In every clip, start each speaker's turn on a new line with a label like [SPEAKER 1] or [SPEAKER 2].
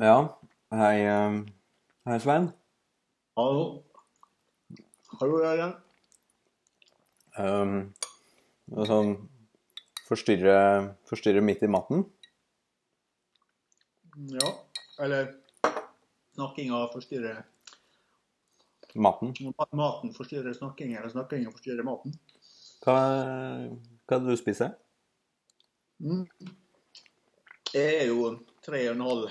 [SPEAKER 1] Ja, hei, eh, hei Svein.
[SPEAKER 2] Hallo. Hallo, Jørgen.
[SPEAKER 1] Um, og sånn forstyrre, forstyrre midt i matten.
[SPEAKER 2] Ja, eller snakkinga forstyrrer
[SPEAKER 1] Matten.
[SPEAKER 2] Maten forstyrrer snakkinga, eller snakkinga forstyrrer maten.
[SPEAKER 1] Hva, hva er det du spiser?
[SPEAKER 2] Mm. Jeg er jo 3,5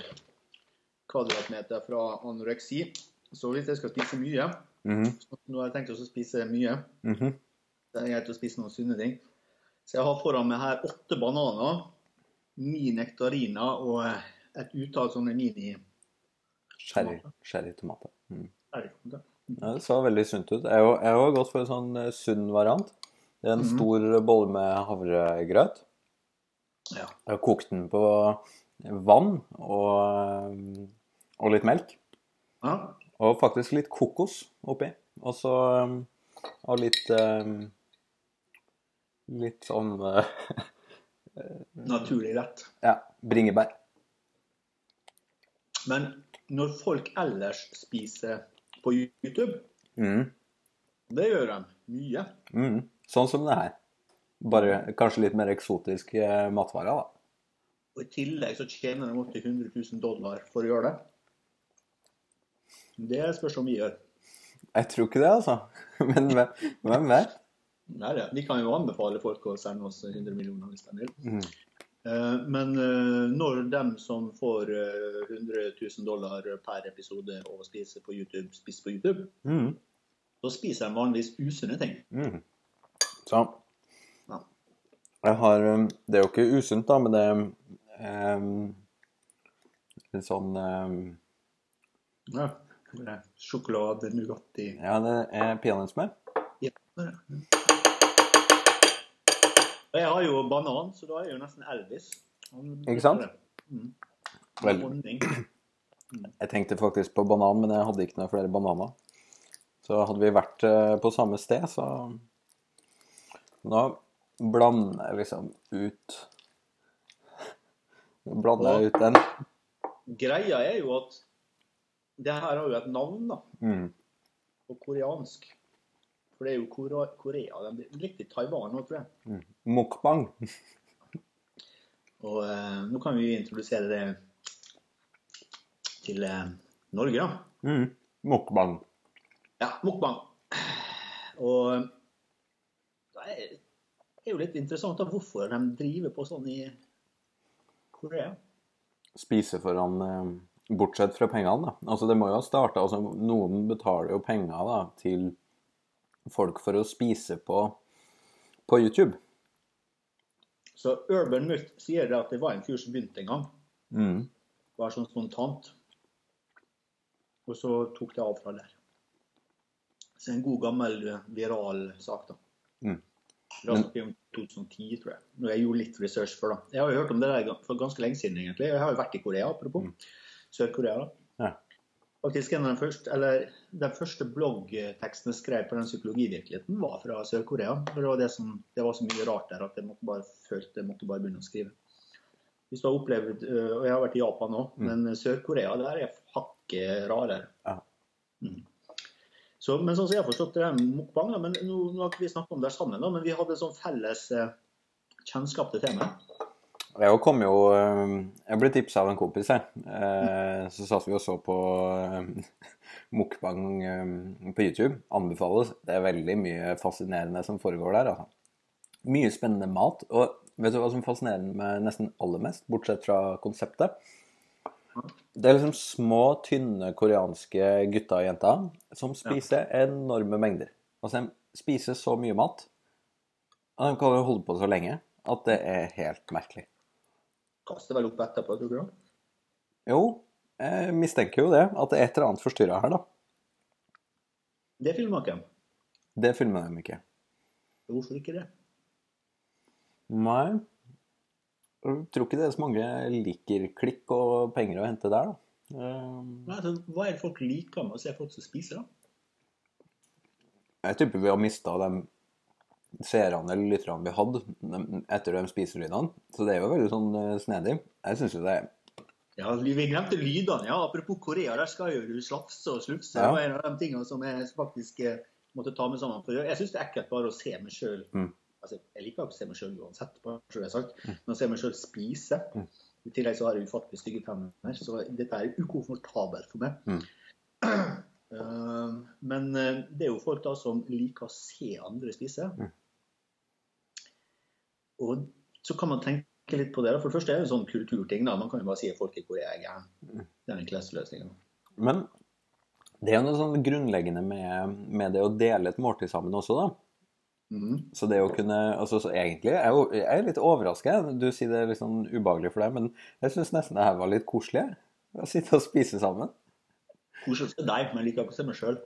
[SPEAKER 2] kvadratmeter fra anoreksi, så hvis jeg skal spise mye
[SPEAKER 1] Mhm,
[SPEAKER 2] Nå har jeg tenkt å spise mye.
[SPEAKER 1] mhm.
[SPEAKER 2] Det er greit å spise noen sunne ting. Så jeg har foran meg her åtte bananer, ni nektariner og et utall sånne mini
[SPEAKER 1] Sherry. Sherrytomater. Mm.
[SPEAKER 2] Herregud.
[SPEAKER 1] Ja, det så veldig sunt ut. Jeg har- jeg har gått for en sånn eh, sunn variant. Det er en
[SPEAKER 2] Mhm.
[SPEAKER 1] stor bolle med havregrøt.
[SPEAKER 2] Ja.
[SPEAKER 1] Jeg har kokt den på vann og, ehm, og litt melk.
[SPEAKER 2] ja.
[SPEAKER 1] Og faktisk litt kokos oppi. Og så um, og litt um, Litt sånn uh,
[SPEAKER 2] Naturlig rett.
[SPEAKER 1] Ja, bringebær.
[SPEAKER 2] Men når folk ellers spiser på YouTube,
[SPEAKER 1] Mm,
[SPEAKER 2] det gjør de mye.
[SPEAKER 1] mm. Sånn som det her. Bare kanskje litt mer eksotisk eh, matvare, da.
[SPEAKER 2] Og i tillegg så tjener de opptil 100 000 dollar for å gjøre det. Det spørs om vi gjør.
[SPEAKER 1] Jeg tror ikke det, altså. Men hvem- hvem vet?
[SPEAKER 2] Nei, det. Vi kan jo anbefale folk å sende oss 100 millioner hvis de vil.
[SPEAKER 1] Mm.
[SPEAKER 2] Eh, Men eh, når dem som får eh, 100 000 dollar per episode å spise på YouTube, spiser på YouTube,
[SPEAKER 1] Mm.
[SPEAKER 2] så spiser de vanligvis usunne ting.
[SPEAKER 1] Mm. Så
[SPEAKER 2] Ja.
[SPEAKER 1] Jeg har um, Det er jo ikke usunt, da, men det er um, litt sånn um,
[SPEAKER 2] Ja. Sjokolade, Nugatti
[SPEAKER 1] Ja, det er peanøttsmør.
[SPEAKER 2] Og jeg har jo banan, så da er jeg jo nesten Elvis. Han-
[SPEAKER 1] Ikke sant?
[SPEAKER 2] Mm.
[SPEAKER 1] Vel.
[SPEAKER 2] Honning.
[SPEAKER 1] Jeg tenkte faktisk på banan, men jeg hadde ikke noen flere bananer. Så hadde vi vært eh, på samme sted, så Nå blander jeg liksom ut Nå blander jeg ut den.
[SPEAKER 2] Greia er jo at det her har jo et navn, da.
[SPEAKER 1] Mm.
[SPEAKER 2] På koreansk. For det er jo Korea, Korea de er litt i Taiwan nå, tror jeg.
[SPEAKER 1] Mukbang.
[SPEAKER 2] Og eh, nå kan vi introdusere det til eh, Norge, da.
[SPEAKER 1] Mm. Mukbang.
[SPEAKER 2] Ja, mukbang. Og eh, det er- det er jo litt interessant da, hvorfor de driver på sånn i Korea.
[SPEAKER 1] spise for han eh, bortsett fra pengene, da. Altså, det må jo ha starta altså, Noen betaler jo penger da, til folk for å spise på, på YouTube.
[SPEAKER 2] Så Urban Mutt sier det at det var en kurs som begynte en gang.
[SPEAKER 1] Mm.
[SPEAKER 2] Det var sånn spontant. Og så tok det av fra der. Så en god gammel eh, viral sak, da.
[SPEAKER 1] Mm.
[SPEAKER 2] Da snakker vi om 2010, tror jeg. Når jeg gjorde litt research for da. Jeg har jo hørt om det der ga- for ganske lenge siden, egentlig. Jeg har jo vært i Korea, apropos. Sør-Korea, da.
[SPEAKER 1] Mm. Ja.
[SPEAKER 2] Faktisk en av de første, eller Den første bloggteksten jeg skrev på den psykologivirkeligheten, var fra Sør-Korea. For Det, var det som- det var så mye rart der at jeg måtte bare, følte jeg måtte bare begynne å skrive. Hvis du har opplevd, øh, og jeg har vært i Japan òg,
[SPEAKER 1] Mm.
[SPEAKER 2] men Sør-Korea der er hakket rarere.
[SPEAKER 1] Ja.
[SPEAKER 2] Mm. Så, men sånn som jeg har forstått det her med mukbang, da, men nå, nå har ikke vi snakket om det sammen, da, men vi hadde sånn felles eh, kjennskap til temaet.
[SPEAKER 1] Jeg kom jo eh, Jeg ble tipsa av en kompis, jeg. Eh, Så satt vi og så på eh, mukbang eh, på YouTube. Anbefales. Det er veldig mye fascinerende som foregår der. Altså. Mye spennende mat. Og vet du hva som fascinerer meg nesten aller mest, bortsett fra konseptet? Det er liksom små, tynne koreanske gutter og jenter som spiser enorme mengder. Altså, de spiser så mye mat, og de kan jo holde på så lenge, at det er helt merkelig.
[SPEAKER 2] Kaster vel opp etterpå, tror du?
[SPEAKER 1] Jo, jeg mistenker jo det. At det er et eller annet forstyrra her, da.
[SPEAKER 2] Det filmer ikke.
[SPEAKER 1] Det filmer de ikke.
[SPEAKER 2] Hvorfor ikke det?
[SPEAKER 1] Nei. Jeg tror ikke det er så mange liker klikk og penger å hente der, da. Eh,
[SPEAKER 2] Nei, altså, hva er det folk liker med å se folk som spiser, da?
[SPEAKER 1] Jeg tipper vi har mista de seerne eller lytterne vi hadde de- etter de spiselydene. Så det er jo veldig sånn eh, snedig. Jeg syns jo det er
[SPEAKER 2] Ja, vi glemte lydene. ja. Apropos Korea, der skal jo du slafse og slufse.
[SPEAKER 1] Ja.
[SPEAKER 2] Det var en av de tingene som jeg faktisk eh, måtte ta med sammen. For jeg syns det er ekkelt bare å se meg sjøl
[SPEAKER 1] Mm.
[SPEAKER 2] altså, Jeg liker ikke å se meg sjøl uansett, bare så det er sagt. Men å se meg sjøl spise
[SPEAKER 1] Mm.
[SPEAKER 2] I tillegg så har jeg ufattelig stygge tenner, så dette er ukomfortabelt for meg.
[SPEAKER 1] Mm.
[SPEAKER 2] Eh, men eh, det er jo folk da som liker å se andre spise.
[SPEAKER 1] Mm.
[SPEAKER 2] Og så kan man tenke litt på det. da. For det første er det en sånn kulturting. da. Man kan jo bare si at folk i Korea er gærne. Det er den enkleste løsningen.
[SPEAKER 1] Men det er jo noe sånn grunnleggende med, med det å dele et måltid sammen også, da.
[SPEAKER 2] Mhm.
[SPEAKER 1] Så det å kunne altså, så Egentlig er jeg jo jeg er litt overrasket. Du sier det er litt sånn ubehagelig for deg, men jeg syns nesten det her var litt koselig. jeg. Å sitte og spise sammen.
[SPEAKER 2] Koselig for deg, men jeg liker ikke å se meg sjøl.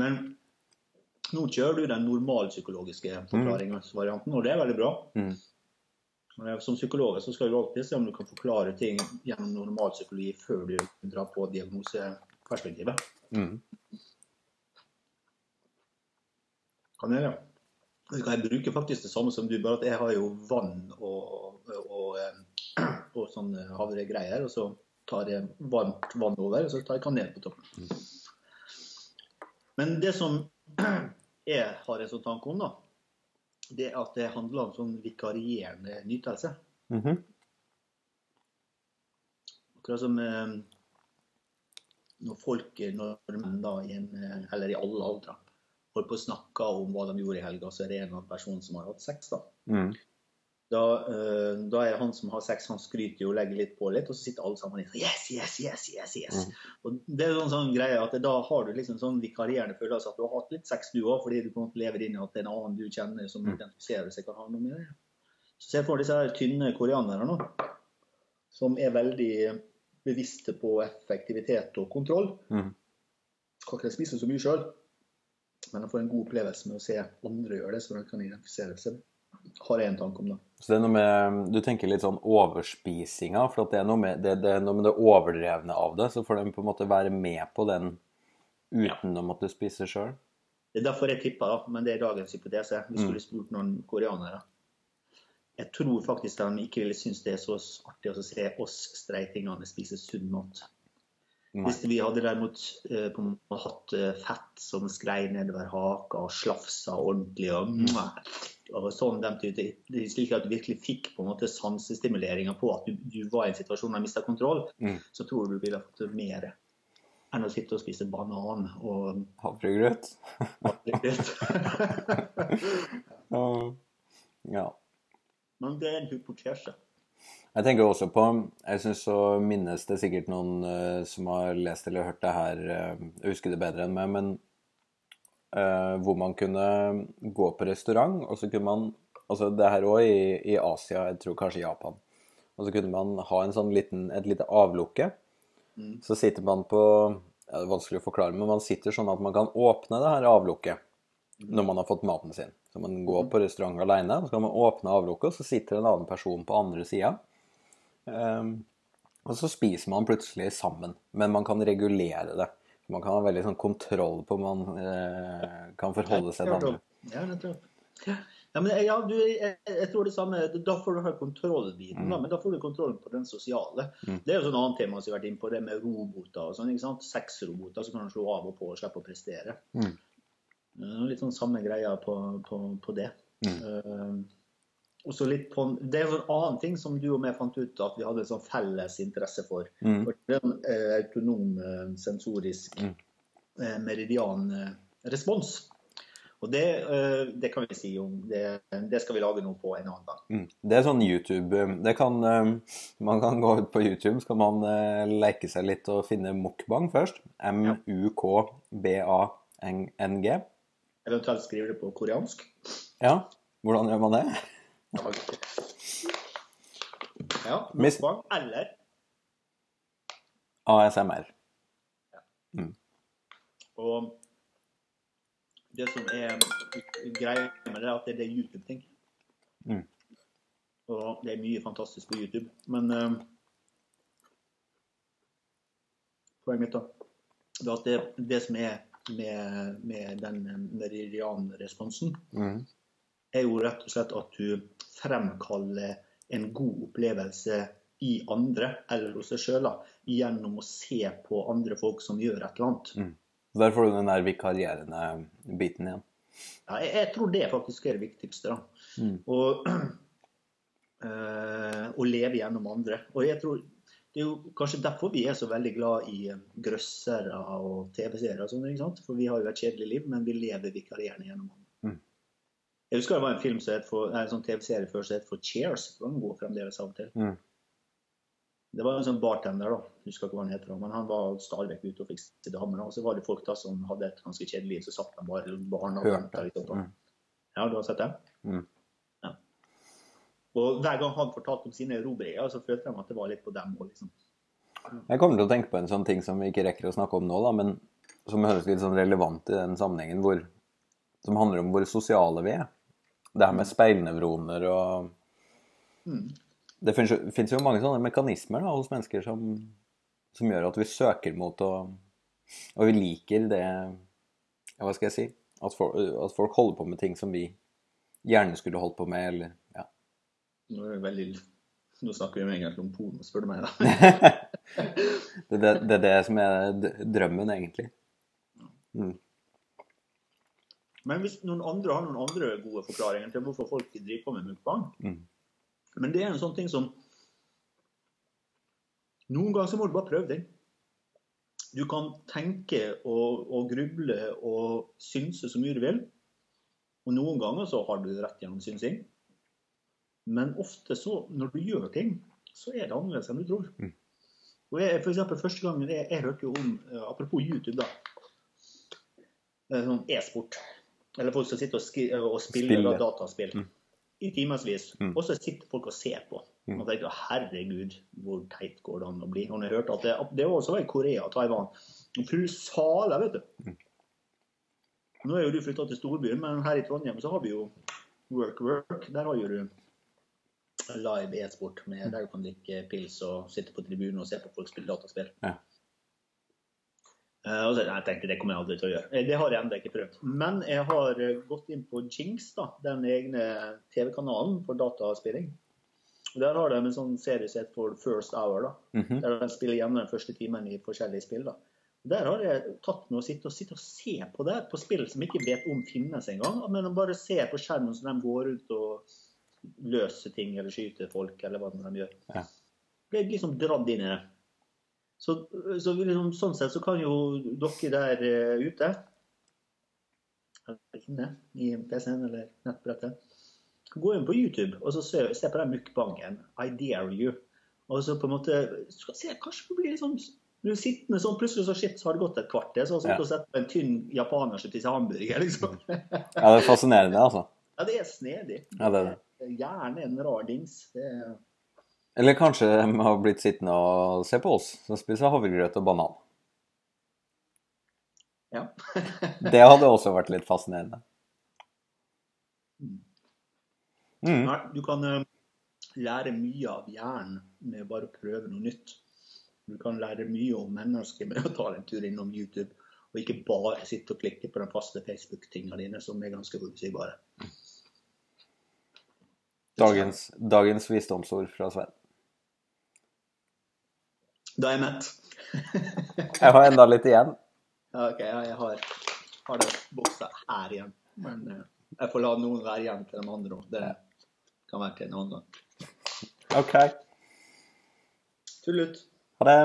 [SPEAKER 2] Men nå kjører du den normalpsykologiske forklaringsvarianten, og det er veldig bra.
[SPEAKER 1] Mm.
[SPEAKER 2] Men eh, Som psykolog så skal du alltid se om du kan forklare ting gjennom normalpsykologi før du drar på diagnoseperspektivet.
[SPEAKER 1] Mm.
[SPEAKER 2] Kan jeg gjøre. Vet du hva, Jeg bruker faktisk det samme som du, bare at jeg har jo vann og, og, og, eh, og sånn havregreier. Og så tar jeg varmt vann over, og så tar jeg kanel på toppen. Men det som jeg har en sånn tanke om, da, det er at det handler om sånn vikarierende nytelse.
[SPEAKER 1] Mhm.
[SPEAKER 2] Akkurat som eh, når folk, eh, når menn da, i en, eh, eller i alle aldre, holder på å snakke om hva de gjorde i helga, så er det en av personene som har hatt sex. da.
[SPEAKER 1] Mm.
[SPEAKER 2] Da, eh, da er han som har sex, han skryter jo og legger litt på litt, og så sitter alle sammen og sier yes, yes, yes, yes, yes. Og det er jo sånn, sånn greie at da har du liksom sånn vikarierende følelse at du har hatt litt sex du òg, fordi du på en måte lever inn i at det er en annen du kjenner som identifiserer seg, kan ha noe med det. Så ser jeg for disse her tynne koreanerne nå, som er veldig bevisste på effektivitet og kontroll.
[SPEAKER 1] Mhm.
[SPEAKER 2] Kan ikke de spise så mye sjøl, men de får en god opplevelse med å se andre gjøre det, så de kan identifisere seg. Har jeg en tanke om det.
[SPEAKER 1] Så det er noe med Du tenker litt sånn overspisinga, for at det er noe med det, det, er noe med det overdrevne av det. Så får de på en måte være med på den uten å måtte spise sjøl.
[SPEAKER 2] Det er derfor jeg tipper, da, men det er dagens hypotese. Vi skulle
[SPEAKER 1] Mm.
[SPEAKER 2] spurt noen koreanere. Jeg tror faktisk de ikke ville synes det er så artig å se oss streitingene spise sunn mat.
[SPEAKER 1] Nei.
[SPEAKER 2] Hvis vi hadde derimot eh, på en måte hatt eh, fett som skrei nedover haka og slafsa ordentlig og, og sånn dem til det- det er Slik at du virkelig fikk på en måte sansestimuleringa på at du, du var i en situasjon der du mista kontroll,
[SPEAKER 1] Mm.
[SPEAKER 2] så tror du du ville fått mer enn å sitte og spise banan og
[SPEAKER 1] Havregrøt. Ja. ja.
[SPEAKER 2] Men det er en hypotese.
[SPEAKER 1] Jeg tenker også på Jeg syns så minnes det sikkert noen eh, som har lest eller hørt det her eh, Jeg husker det bedre enn meg, men eh, hvor man kunne gå på restaurant, og så kunne man Altså det her òg i, i Asia, jeg tror kanskje Japan. Og så kunne man ha en sånn liten, et lite avlukke. Så sitter man på ja, Det er vanskelig å forklare, men man sitter sånn at man kan åpne det her avlukket når man har fått maten sin. Så man går på restaurant alene, så kan man åpne avlukket, og så sitter en annen person på andre sida. Ehm, og så spiser man plutselig sammen, men man kan regulere det. Man kan ha veldig sånn kontroll på man eh, kan forholde seg til andre.
[SPEAKER 2] Ja, nettopp. Ja, men ja, du, jeg, jeg tror det samme. Da får du ha kontrollbiten,
[SPEAKER 1] Mm.
[SPEAKER 2] da, men da får du kontrollen på den sosiale. Det er jo sånn annet tema som vi har vært inne på, det med roboter og sånn. ikke sant? Sexroboter som kan slå av og på og slippe å prestere.
[SPEAKER 1] Mm.
[SPEAKER 2] Eh, Litt sånn samme greia på, på, på det.
[SPEAKER 1] Mm.
[SPEAKER 2] Eh, og så litt på, det er jo en annen ting som du og jeg fant ut at vi hadde en sånn felles interesse for.
[SPEAKER 1] Mm.
[SPEAKER 2] For det er en eh, autonom, eh, sensorisk eh, meridian eh, respons. Og det, eh, det kan vi si om. Det, det skal vi lage noe på en annen gang.
[SPEAKER 1] Mm. Det er sånn YouTube eh, det kan, eh, Man kan gå ut på YouTube, så kan man eh, leke seg litt og finne mukbang først. M-u-k-b-a-n-g.
[SPEAKER 2] Eventuelt skrive det på koreansk.
[SPEAKER 1] Ja, hvordan gjør man det?
[SPEAKER 2] Ja,
[SPEAKER 1] Mis-
[SPEAKER 2] mukbang eller
[SPEAKER 1] ASMR.
[SPEAKER 2] Og det som er greia med det, er at det er YouTube-ting.
[SPEAKER 1] Mm.
[SPEAKER 2] Og det er mye fantastisk på YouTube. Men eh, poenget mitt, da, det er at det, det som er med, med den meridianresponsen,
[SPEAKER 1] Mm.
[SPEAKER 2] er jo rett og slett at du fremkaller en god opplevelse i andre, eller hos seg sjøl, gjennom å se på andre folk som gjør et eller annet.
[SPEAKER 1] Så Der får du den der vikarierende biten igjen.
[SPEAKER 2] Ja, jeg, jeg tror det faktisk er det viktigste. da.
[SPEAKER 1] Mm.
[SPEAKER 2] Og, eh, å leve gjennom andre. Og jeg tror det er jo kanskje derfor vi er så veldig glad i eh, grøssere og TV-seere og sånn, ikke sant? For vi har jo et kjedelig liv, men vi lever vikarierende gjennom andre.
[SPEAKER 1] Mm.
[SPEAKER 2] Jeg husker det var en film som het for, nei, en sånn TV-serie før som het For Cheers. Den går fremdeles av og til.
[SPEAKER 1] Mm.
[SPEAKER 2] Det var en sånn bartender, da. Jeg Husker ikke hva han heter, da, men han var stadig vekk ute og fikset damer. da. Og så var det folk da som hadde et ganske kjedelig liv, så satt de bare rundt baren og
[SPEAKER 1] Hørte.
[SPEAKER 2] ventet litt. opp, da.
[SPEAKER 1] Mm.
[SPEAKER 2] Ja, du har sett det?
[SPEAKER 1] Mm.
[SPEAKER 2] Ja. Og hver gang han fortalte om sine erobringer, så følte de at det var litt på dem òg, liksom.
[SPEAKER 1] Jeg kommer til å tenke på en sånn ting som vi ikke rekker å snakke om nå, da, men som høres litt sånn relevant i den sammenhengen, hvor, som handler om hvor sosiale vi er. Det her med speilnevroner og
[SPEAKER 2] Mm.
[SPEAKER 1] Det finnes jo, finnes jo mange sånne mekanismer da, hos mennesker som, som gjør at vi søker mot og, og vi liker det ja, Hva skal jeg si? At, for, at folk holder på med ting som vi gjerne skulle holdt på med, eller ja.
[SPEAKER 2] Nå, er det veldig... Nå snakker vi jo egentlig om porno, spør du meg. da.
[SPEAKER 1] Det er det, det, er det som er d- drømmen, egentlig.
[SPEAKER 2] Men hvis noen andre har noen andre gode forklaringer til hvorfor folk driver på med mukbang
[SPEAKER 1] Mm.
[SPEAKER 2] Men det er en sånn ting som Noen ganger så må du bare prøve den. Du kan tenke og, og gruble og synse så mye du vil. Og noen ganger så har du rett gjennom synsing. Men ofte så, når du gjør ting, så er det annerledes enn du tror.
[SPEAKER 1] Mm.
[SPEAKER 2] Og jeg, for eksempel, første gangen jeg, jeg hørte jo om eh, Apropos YouTube, da. eh, Sånn e-sport. Eller folk som sitter og, skri, og spiller,
[SPEAKER 1] Spiller.
[SPEAKER 2] da, dataspill i timevis.
[SPEAKER 1] Mm.
[SPEAKER 2] Og så sitter folk og ser på.
[SPEAKER 1] Mm.
[SPEAKER 2] Og tenker herregud, hvor teit går det an å bli? Og når jeg hørte at det, at det også var i Korea og Taiwan. Frusale, vet du.
[SPEAKER 1] Mm.
[SPEAKER 2] Nå er jo du flytta til storbyen, men her i Trondheim så har vi jo Work Work. Der har jo du live e-sport med der du kan drikke pils og sitte på tribunen og se på folk spille dataspill.
[SPEAKER 1] Ja.
[SPEAKER 2] Eh, og så, nei, jeg tenkte det kommer jeg aldri til å gjøre. Eh, Det har jeg ennå ikke prøvd. Men jeg har eh, gått inn på Jinx, da, den egne TV-kanalen for dataspilling. Og Der har de en sånn serie som heter for First Hour, da,
[SPEAKER 1] Mhm.
[SPEAKER 2] der de spiller gjennom den første timen i forskjellige spill. da. Der har jeg tatt med å sitte og, sitte og se på det, på spill som jeg ikke vet om finnes engang. Men å bare se på skjermen som de går rundt og løser ting eller skyter folk, eller hva de gjør.
[SPEAKER 1] Ja.
[SPEAKER 2] Ble liksom dratt inn i det. Så, så vi liksom, sånn sett så kan jo dere der eh, ute eller inne i PC-en eller nettbrettet gå inn på YouTube og så se, se på den mukbangen. I dare you. Og så på en måte så skal jeg se, Kanskje du blir litt sånn du er sittende sånn, plutselig så shit, så har det sånn gått et kvarter. Så har jeg
[SPEAKER 1] Ja. Mm.
[SPEAKER 2] sittet og sett på en tynn japaner som spiser hamburger, liksom. ja,
[SPEAKER 1] Ja, det er fascinerende, altså.
[SPEAKER 2] det er snedig.
[SPEAKER 1] Ja, det er det.
[SPEAKER 2] Gjerne en rar dings. Det er
[SPEAKER 1] Eller kanskje de har blitt sittende og se på oss som spiser havregrøt og banan.
[SPEAKER 2] Ja.
[SPEAKER 1] Det hadde også vært litt fascinerende. Mm.
[SPEAKER 2] Nei, du kan eh, lære mye av hjernen med bare å prøve noe nytt. Du kan lære mye om mennesker med å ta en tur innom YouTube, og ikke bare sitte og klikke på den faste Facebook-tinga dine, som er ganske forutsigbare.
[SPEAKER 1] Dagens, dagens visdomsord fra Sven.
[SPEAKER 2] Da er jeg mett.
[SPEAKER 1] Jeg har enda litt igjen.
[SPEAKER 2] Ja, OK, ja, jeg har, har den boksa her igjen. Men eh, jeg får la noen være igjen til de andre òg. Det kan være til en annen gang.
[SPEAKER 1] OK.
[SPEAKER 2] Tullut.
[SPEAKER 1] Ha det.